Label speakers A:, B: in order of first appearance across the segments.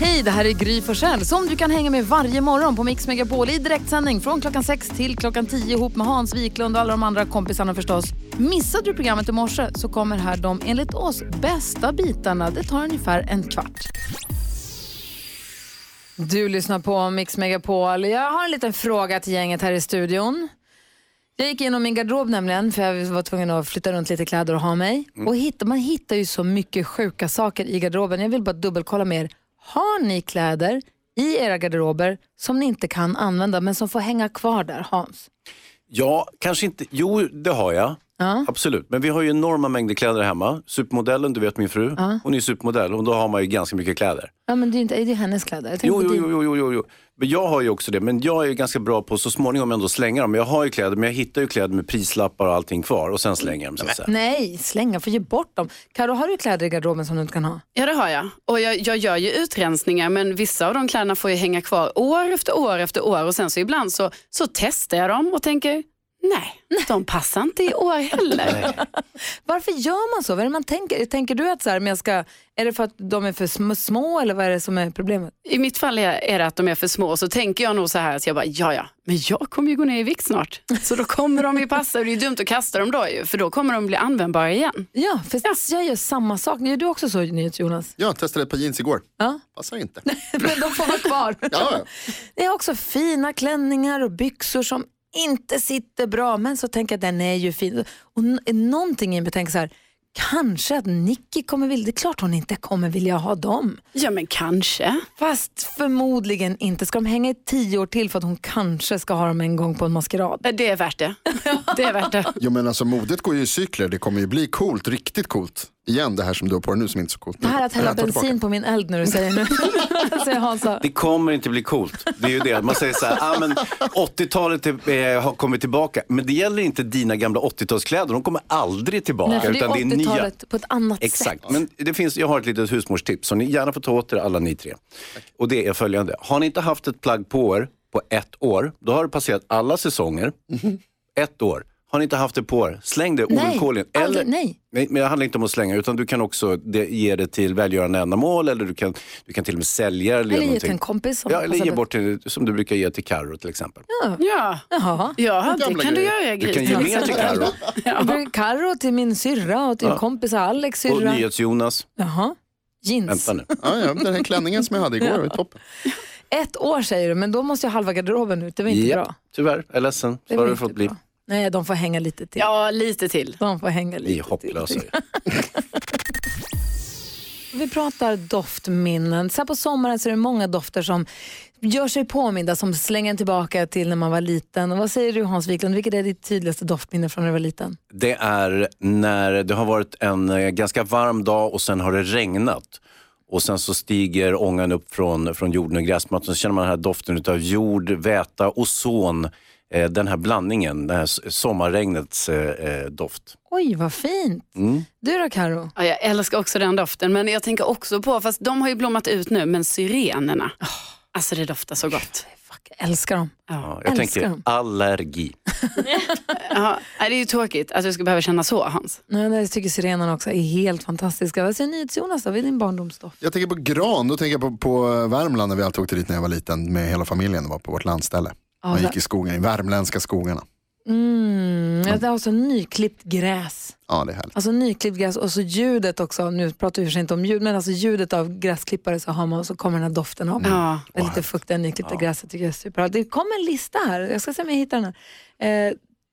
A: Hej, det här är Gry Forssell som du kan hänga med varje morgon på Mix Megapol i direktsändning från klockan 6 till klockan 10 ihop med Hans Wiklund och alla de andra kompisarna förstås. Missade du programmet i morse så kommer här de enligt oss bästa bitarna. Det tar ungefär en kvart. Du lyssnar på Mix Megapol. Jag har en liten fråga till gänget här i studion. Jag gick igenom min garderob nämligen, för jag var tvungen att flytta runt lite kläder och ha mig. Och hitta, man hittar ju så mycket sjuka saker i garderoben. Jag vill bara dubbelkolla med er. Har ni kläder i era garderober som ni inte kan använda, men som får hänga kvar där, Hans?
B: Ja, kanske inte. Jo, det har jag.
A: Ja.
B: Absolut. Men vi har ju enorma mängder kläder hemma. Supermodellen, du vet min fru, hon är ju supermodell och då har man ju ganska mycket kläder.
A: Ja, men det är ju inte, det är ju hennes kläder. Jag tänkte
B: Jo,
A: på
B: jo,
A: din-
B: jo, jo, jo, jo, jo. Men jag har ju också det, men jag är ju ganska bra på så småningom ändå slänga dem. Men jag har ju kläder, men jag hittar ju kläder med prislappar och allting kvar och sen slänger jag dem. Så att säga.
A: Nej, slänga, för ge bort dem. Karo, har du kläder i garderoben som du inte kan ha?
C: Ja, det har jag. Och jag, jag gör ju utrensningar, men vissa av de kläderna får ju hänga kvar år efter år efter år. Och sen så ibland så, så testar jag dem och tänker, nej, de passar inte i år heller.
A: Varför gör man så? Vad är det man tänker? Tänker du att så här, men jag ska, är det för att de är för sm- små eller vad är det som är problemet?
C: I mitt fall är, är det att de är för små, så tänker jag nog så här att jag bara, ja, ja, men jag kommer ju gå ner i vikt snart. Så då kommer de ju passa och det är ju dumt att kasta dem då ju, för då kommer de bli användbara igen.
A: Ja, för jag gör samma sak. Gör du också så, Jonas?
D: Jag testade ett par jeans igår.
A: Ja.
D: Passar inte.
A: Men de får vara kvar.
D: Ja,
A: Det är också fina klänningar och byxor som inte sitter bra, men så tänker jag den är ju fin. Och n- någonting i mig tänker så här, kanske att Nicky kommer vilja, det är klart hon inte kommer vilja ha dem.
C: Ja, men kanske.
A: Fast förmodligen inte. Ska de hänga i tio år till för att hon kanske ska ha dem en gång på en maskerad?
C: Det är värt det. Det är värt det.
D: jo, men alltså modet går ju i cykler. Det kommer ju bli coolt, riktigt coolt. Igen det här som du har på dig nu som inte är så coolt.
A: Det här att hälla
D: Jag tar tillbaka.
A: bensin på min eld när du säger nu. säger Hansa.
B: Det kommer inte bli coolt. Det är ju det. Man säger så här, ah, men 80-talet är- eh, har kommit tillbaka. Men det gäller inte dina gamla 80-talskläder. De kommer aldrig tillbaka.
A: Nej, för det är
B: utan det är nya.
A: 80-talet på ett annat sätt.
B: Exakt. Men det finns, jag har ett litet husmorstips som ni gärna får ta åt er alla ni tre. Och det är följande. Har ni inte haft ett plagg på er på ett år, då har det passerat alla säsonger. Ett år. Har ni inte haft det på er, släng det
A: Nej,
B: ovillkorligen.
A: aldrig, nej.
B: Nej, men det handlar inte om att slänga, utan du kan också det, ge det till välgörande ändamål eller du kan, du kan till och med sälja. Eller, göra
A: Eller ge
B: någonting.
A: till en alltså. kompis. Som
B: Ja, eller
A: passar
B: ge
A: bättre.
B: bort till, som du brukar ge till Carro till exempel.
C: Ja,
A: Jaha.
C: ja det
D: Gamla
C: kan du
D: grejer.
B: Du
C: göra, Gris.
B: kan ge mer till Carro
A: Jag brukar Karo till min syrra och till kompisar Alex
B: och
A: syrra.
B: NyhetsJonas.
A: Jaha. Jeans.
B: Vänta nu.
D: Ja, ja, den här klänningen som jag hade igår var ju toppen.
A: Ett år säger du, men då måste jag halva garderoben ut. Det var inte
B: Ja,
A: bra.
B: tyvärr. Jag är ledsen.
A: Det
B: Så har
A: var
B: det
A: inte
B: fått bli.
A: bra. Nej, de får hänga lite till.
C: Ja, lite till.
A: De får hänga lite
B: Ni är
A: till.
B: hopplösa ju.
A: Vi pratar doftminnen. Så här på sommaren så är det många dofter som gör sig påminda, som slänger en tillbaka till när man var liten. Och vad säger du Hans Wiklund, vilket är ditt tydligaste doftminne från när du var liten?
B: Det är när det har varit en eh, ganska varm dag och sen har det regnat. Och sen så stiger ångan upp från, från jorden och gräsmattan. Så känner man den här doften av jord, väta, ozon. Eh, den här blandningen, det här s- sommarregnets eh, eh, doft.
A: Oj, vad fint.
B: Mm.
A: Du då Karo?
C: Ja, jag älskar också den doften, men jag tänker också på, fast de har ju blommat ut nu, men syrenerna. Alltså det doftar så gott.
A: Fuck, jag älskar dem.
B: Ja, jag
A: Älskar
B: tänker
A: dem.
B: allergi.
C: Ja, nej, det är ju tråkigt att du ska behöva känna så, Hans.
A: Nej, jag tycker sirenerna också är helt fantastiska. Vad säger NyhetsJonas då, vad är din barndomsdoft?
D: Jag tänker på gran, då tänker jag på, på Värmland när vi alltid åkte dit när jag var liten med hela familjen och var på vårt landställe. Man gick i skogen, i värmländska skogarna.
A: Mm, ja, det är alltså nyklippt gräs.
D: Ja, det är härligt.
A: Alltså nyklippt gräs och så ljudet också. Nu pratar vi för sig inte om ljud, men alltså ljudet av gräsklippare så har man och så kommer den här doften av.
C: Ja.
A: Det lite fuktiga nyklippta gräset tycker jag är superbra. Det kom en lista här, jag ska se om jag hittar den här. Eh,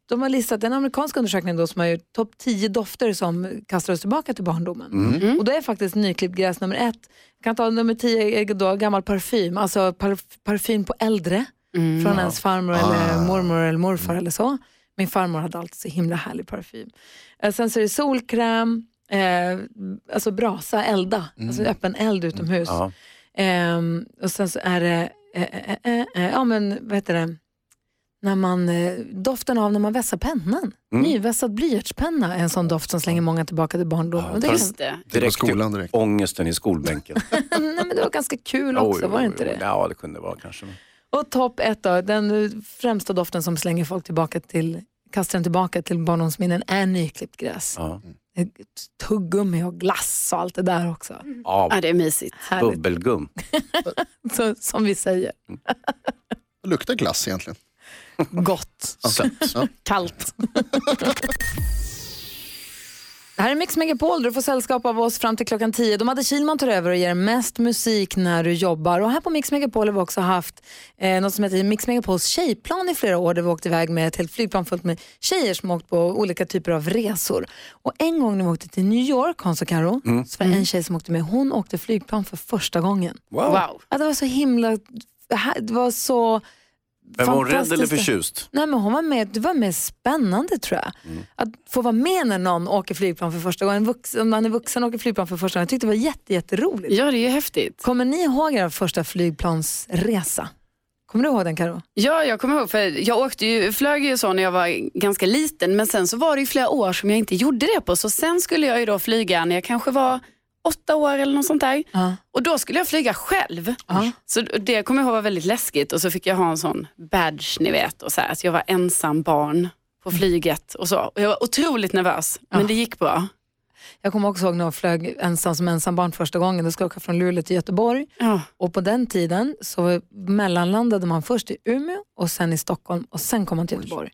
A: de har listat en amerikansk undersökning då som har gjort topp 10 dofter som kastar oss tillbaka till barndomen. Och då är faktiskt nyklippt gräs nummer ett. Jag kan ta nummer 10 är då gammal parfym, alltså parf- parfym på äldre.
C: Mm.
A: Från ens farmor eller mormor eller morfar eller så. Min farmor hade alltid så himla härlig parfym. Eh, sen så är det solkräm, eh, alltså brasa, elda, alltså öppen eld utomhus.
B: Ja.
A: Ehm, och sen så är det, eh, eh, eh, eh, ja men vad heter det, när man, eh, doften av när man vässar pennan.
B: Mm.
A: Nyvässad blyertspenna är en sån doft som slänger många tillbaka till barndomen. det, är
C: Just
A: ganska,
C: det.
D: Direkt på
B: till
D: skolan direkt.
B: Ångesten i skolbänken.
A: nej, men det var ganska kul
B: Oj,
A: också, var
B: oj,
A: det inte
B: oj.
A: det? Mm.
B: Ja, det kunde vara kanske.
A: Och topp ett då, den eh, främsta doften som slänger folk tillbaka till kastar den tillbaka till barndomsminnen är nyklippt gräs.
B: Ja.
A: tuggummi och glass och allt det där också.
B: Ja,
C: Ja, det är mysigt.
A: Härligt,
B: bubbelgum.
A: så, som vi säger.
D: Det luktar glass egentligen.
A: Gott,
B: Sött.
A: kallt. Det här är Mix Megapol, du får sällskap av oss fram till klockan 10. De hade Kilman tar över och ger mest musik när du jobbar. Och här på Mix Megapol har vi också haft eh, något som heter Mix Megapols tjejplan i flera år där vi åkte iväg med ett helt flygplan fullt med tjejer som åkt på olika typer av resor. Och en gång när vi åkte till New York, Hans och Karo,
B: Mm.
A: så var det en tjej som åkte med. Hon åkte flygplan för första gången.
C: Wow.
A: Ja, det var så himla... Det var så...
B: Men var hon rädd eller
A: fantastiskt.
B: förtjust?
A: Nej, men hon var med, det var mer spännande tror jag. Att få vara med när någon åker flygplan för första gången. En vuxen, om man är vuxen och åker flygplan för första gången. Jag tyckte det var jätte, jätteroligt.
C: Ja, det är ju häftigt.
A: Kommer ni ihåg er första flygplansresa? Kommer du ihåg den Karo?
C: Ja, jag kommer ihåg, för jag åkte ju, flög ju så när jag var ganska liten, men sen så var det ju flera år som jag inte gjorde det på. Så sen skulle jag ju då flyga när jag kanske var åtta år eller något sånt där.
A: Ja.
C: Och då skulle jag flyga själv. Så det kommer jag ihåg var väldigt läskigt. Och så fick jag ha en sån badge, ni vet. Och så här, att jag var ensam barn på flyget och så. Och jag var otroligt nervös, men det gick bra.
A: Jag kommer också ihåg när jag flög ensam som ensambarn första gången. Då skulle jag åka från Luleå till Göteborg.
C: Ja.
A: Och på den tiden så mellanlandade man först i Umeå och sen i Stockholm och sen kom man till Göteborg.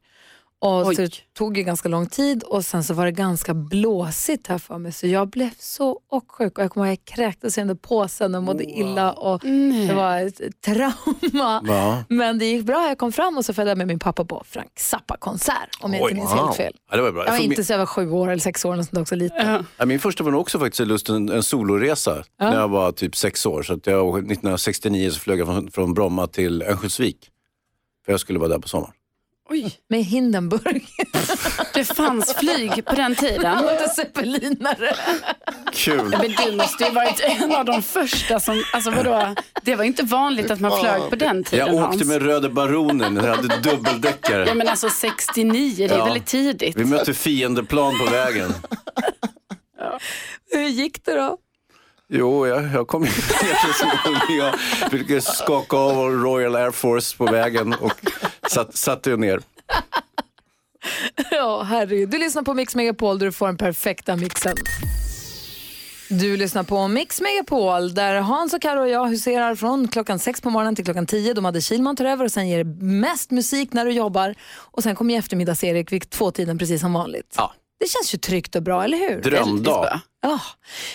A: Och
C: Oj.
A: så det tog ju ganska lång tid och sen så var det ganska blåsigt här för mig så jag blev så åksjuk och jag kommer ihåg att jag kräktes under påsen och mådde illa och det var ett trauma.
B: Ja.
A: Men det gick bra, jag kom fram och så följde jag med min pappa på Frank Zappa-konsert om jag inte minns helt fel.
B: Ja, det var bra.
A: Jag var
B: För
A: inte så jag var sju år eller sex år eller sånt där, också lite.
C: Ja.
B: min, min första var nog också faktiskt lust en, en soloresa när jag var typ sex år. Så att jag, 1969 så flög jag från, från Bromma till Örnsköldsvik. För jag skulle vara där på sommaren.
C: Oj,
A: Med Hindenburg,
C: det fanns flyg på den tiden.
A: inte zeppelinare.
B: Kul.
C: Men du måste ju varit en av de första som, alltså vadå, det var inte vanligt att man flög på den tiden
B: Jag åkte
C: Hans.
B: med Röde Baronen, jag hade
C: Ja
B: dubbeldäckare.
C: men alltså 69, det är
B: Ja.
C: väldigt tidigt.
B: Vi mötte fiendeplan på vägen.
A: Hur gick det då?
B: Jo, jag, jag kom ju Jag fick skaka av Royal Air Force på vägen och satt, satte ju ner.
A: Ja, herregud. Du lyssnar på Mix Megapol där du får den perfekta mixen. Du lyssnar på Mix Megapol där Hans och Karo och jag huserar från klockan sex på morgonen till klockan tio. De hade Kilman tar över och sen ger det mest musik när du jobbar. Och sen kommer ju eftermiddags-Erik vid tvåtiden precis som vanligt.
B: Ja.
A: Det känns ju tryggt och bra, eller hur?
B: Drömdag.
A: Ja.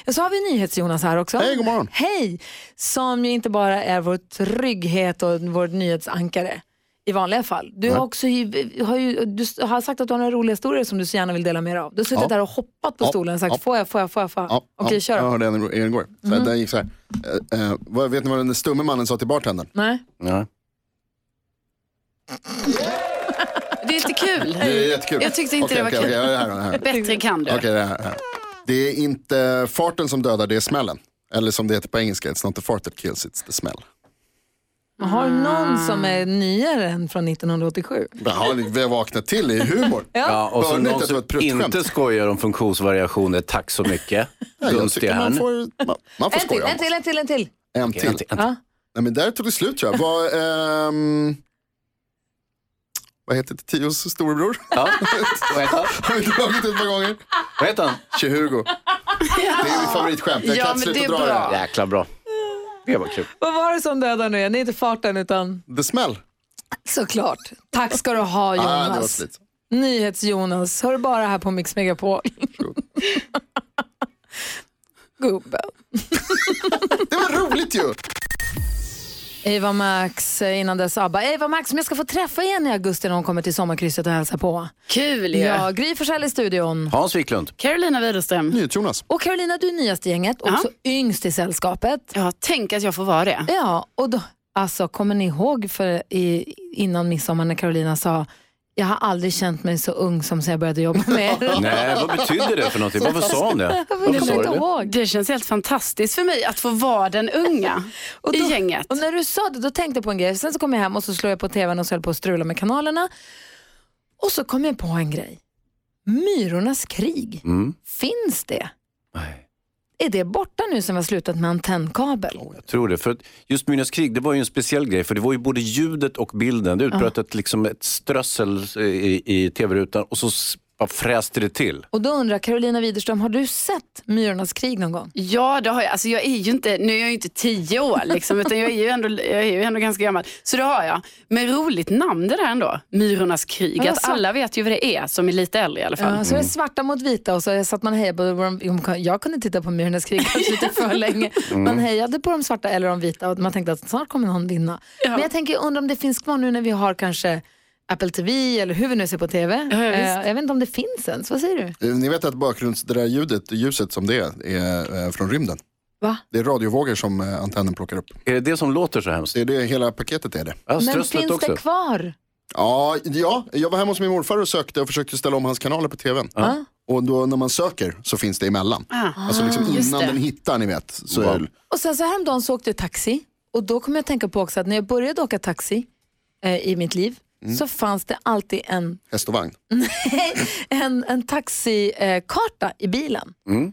A: Och så har vi NyhetsJonas här också.
D: Hej, god morgon.
A: Hej! Som ju inte bara är vår trygghet och vårt nyhetsankare i vanliga fall. Du har, också, ju- har ju, du har sagt att du har några roliga historier som du så gärna vill dela med dig av. Du har suttit
D: Ja.
A: där och hoppat på
D: Ja,
A: stolen och sagt
D: ja.
A: får jag, får jag, får jag? Får jag?
D: Ja,
A: Okej,
D: ja,
A: kör
D: Jag
A: då. Mm.
D: hörde en en igår. Så Den gick så här. Eh, eh, vad, vet ni vad den stumme mannen sa till bartendern?
A: Nej.
B: Ja.
C: Det är inte kul.
A: Eh,
D: Det är jättekul.
C: Jag tyckte inte
D: Okej,
C: det var
D: okej,
C: kul.
D: okej, ja, det här, då, det här.
C: Bättre kan du.
D: Okej, det här, det här. Det är inte farten som dödar, det är smällen. Eller som det heter på engelska, it's not the fart that kills, it's the smell.
A: Man har någon som är nyare än från 1987.
D: Jaha, ni har vaknat till i humor.
B: Ja, och så
D: Hörde
B: någon
D: inte att det var
B: som
D: ett pruttskämt?
B: inte skojar om funktionsvariationer, tack så mycket.
D: Ja, jag
B: Dunstiga
D: tycker man
B: herrn.
D: får, man, man får
A: En till,
D: skoja.
A: en till, en till, en till.
B: Okej,
D: En
B: en
D: till.
B: till, en till.
A: Ja.
D: Nej, men där tog det slut tror jag. Vad, ehm, vad heter det? Tios storebror?
B: Ja. Vad heter han?
D: Har vi dragit ut ett par gånger?
B: Vad heter han?
D: Tje-Hugo. Det är mitt favoritskämt. Jag
C: Ja,
D: kan inte
C: men
D: sluta
C: det är
D: dra
C: bra.
D: det.
B: Jäkla bra. Det var kul.
A: Vad var det som dödade nu igen? Det är inte farten utan...
D: The smell.
A: Såklart. Tack ska du ha
D: Ah, det var
A: Jonas.
D: slut.
A: NyhetsJonas, hör bara här på Mix Megapol. Gubben.
D: Det var roligt ju.
A: Eva Max, eh, innan dess ABBA. Eva Max som jag ska få träffa igen i augusti när hon kommer till sommarkrysset och hälsa på.
C: Kul ju.
A: Ja, Gry Forssell i studion.
B: Hans Wiklund.
C: Carolina Widerström.
D: Jonas.
A: Och Carolina, du är nyast i gänget, också yngst i sällskapet.
C: Ja, tänk att jag får vara det.
A: Ja, och då, alltså kommer ni ihåg för i, innan midsommar när Carolina sa jag har aldrig känt mig så ung som sen jag började jobba med er.
B: Nej, vad betyder det för någonting? Varför sa hon det?
A: Jag kommer
B: du
A: inte ihåg.
C: Det känns helt fantastiskt för mig att få vara den unga
A: Och då-
C: i gänget.
A: Och när du sa det, då tänkte jag på en grej. Sen så kom jag hem och så slog jag på tvn och så höll på att strula med kanalerna. Och så kom jag på en grej. Myrornas krig,
B: Mm.
A: finns det?
B: Nej,
A: Är det borta nu som vi har slutat med antennkabel?
B: jag tror det. För att just Myrornas krig, det var ju en speciell grej. För det var ju både ljudet och bilden. Det utbröt ett, liksom ett strössel eh, i, i tv-rutan och så s- Bara fräste det till.
A: Och då undrar Carolina Widerström, har du sett Myrornas krig någon gång?
C: Ja, det har jag. Alltså, jag är ju inte, nu är jag ju inte tio år, liksom, utan jag är, ju ändå, jag är ju ändå ganska gammal. Så det har jag. Men roligt namn det där ändå, Myrornas krig.
A: Ja,
C: att
A: så-
C: alla vet ju vad det är som är lite äldre i alla fall.
A: Ja, så Alltså, är det svarta mot vita och så satt man och hejade på dem. Jo, Jag kunde titta på Myrornas krig kanske lite för länge.
B: Mm.
A: Man hejade på de svarta eller de vita och man tänkte att snart kommer någon vinna. Men jag tänker, undrar om det finns kvar nu när vi har kanske Apple TV eller hur vi nu ser på TV.
C: Ja, visst.
A: Eh, jag vet inte om det finns ens, vad säger du?
D: Eh, Ni vet att bakgrunds, det där ljudet, ljuset som det är, är eh, från rymden.
A: Va?
D: Det är radiovågor som eh, antennen plockar upp.
B: Är det det som låter så hemskt?
D: Det är det, hela paketet är det.
B: Ja,
A: Men
B: strösslet
A: finns
B: också.
A: det kvar?
D: Ja, ja, jag var hemma hos min morfar och sökte och försökte ställa om hans kanaler på tvn.
A: Ja.
D: Och då när man söker så finns det emellan.
C: Ah.
D: Alltså liksom
C: just
D: innan
C: det.
D: den hittar ni vet. Så
B: Wow.
D: är-
A: Och sen så häromdagen så åkte jag taxi och då kom jag att tänka på också att när jag började åka taxi eh, i mitt liv
B: Mm.
A: så fanns det alltid en
D: häst och vagn.
A: en, en taxikarta eh, i bilen.
B: Mm.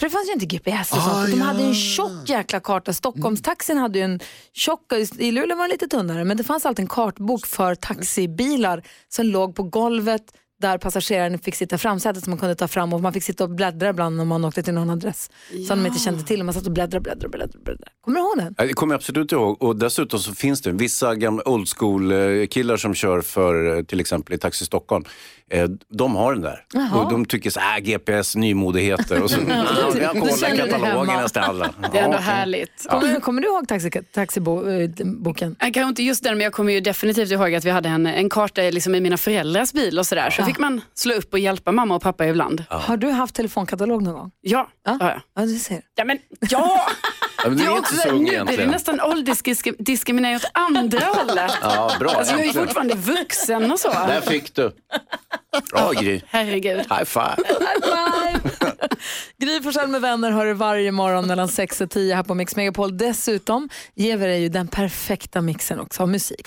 A: För det fanns ju inte GPS och
D: Ah,
A: sånt. De
D: ja.
A: hade en tjock jäkla karta. Stockholmstaxin hade ju en tjock, i Luleå var den lite tunnare, men det fanns alltid en kartbok för taxibilar som låg på golvet där passageraren fick sitta i framsätet som man kunde ta fram och man fick sitta och bläddra ibland om man åkte till någon adress som de inte kände till. Man satt och bläddrade, bläddrade, bläddrade. bläddrade. Kommer du ihåg den?
B: Nej, Det kommer jag absolut ihåg. Och dessutom så finns det vissa gamla old school-killar som kör för eh, till exempel i Taxi Stockholm. Eh, De har den där.
A: Jaha.
B: Och de tycker så här, GPS, nymodigheter. Och så, ja, jag
A: Du känner
B: kollar
A: dig hemma.
B: katalogen nästan alla.
C: Det är ändå
B: Ja,
C: härligt.
A: Kommer, du- kommer du ihåg taxi, eh, taxiboken?
C: Jag kanske inte just den, men jag kommer ju definitivt ihåg att vi hade en, en karta i- liksom, i mina föräldrars bil och sådär. Så fick man slå upp och hjälpa mamma och pappa ibland.
A: Har du haft telefonkatalog någon gång?
C: Ja,
A: Ja.
C: ja. ja.
A: Ja, du ser.
C: ja men ja!
B: Ja, men du är
C: Jag
B: inte
C: också-
B: så ung
C: nu blir det
B: egentligen.
C: nästan åldersdiskriminering åt andra hållet.
B: Ja, bra.
C: Alltså, jag är ju
B: äntligen.
C: fortfarande vuxen och så.
B: Där fick du. Bra Gry.
C: Herregud.
B: High five.
A: Gry Forssell med vänner hör du varje morgon mellan 6 och 10 här på Mix Megapol. Dessutom ger vi dig ju den perfekta mixen också av musik.